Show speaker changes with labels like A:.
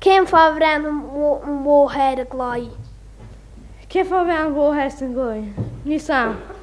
A: Kim Favren mo- morrer gløy.
B: Hvem får være en god hest en gang? Nissan.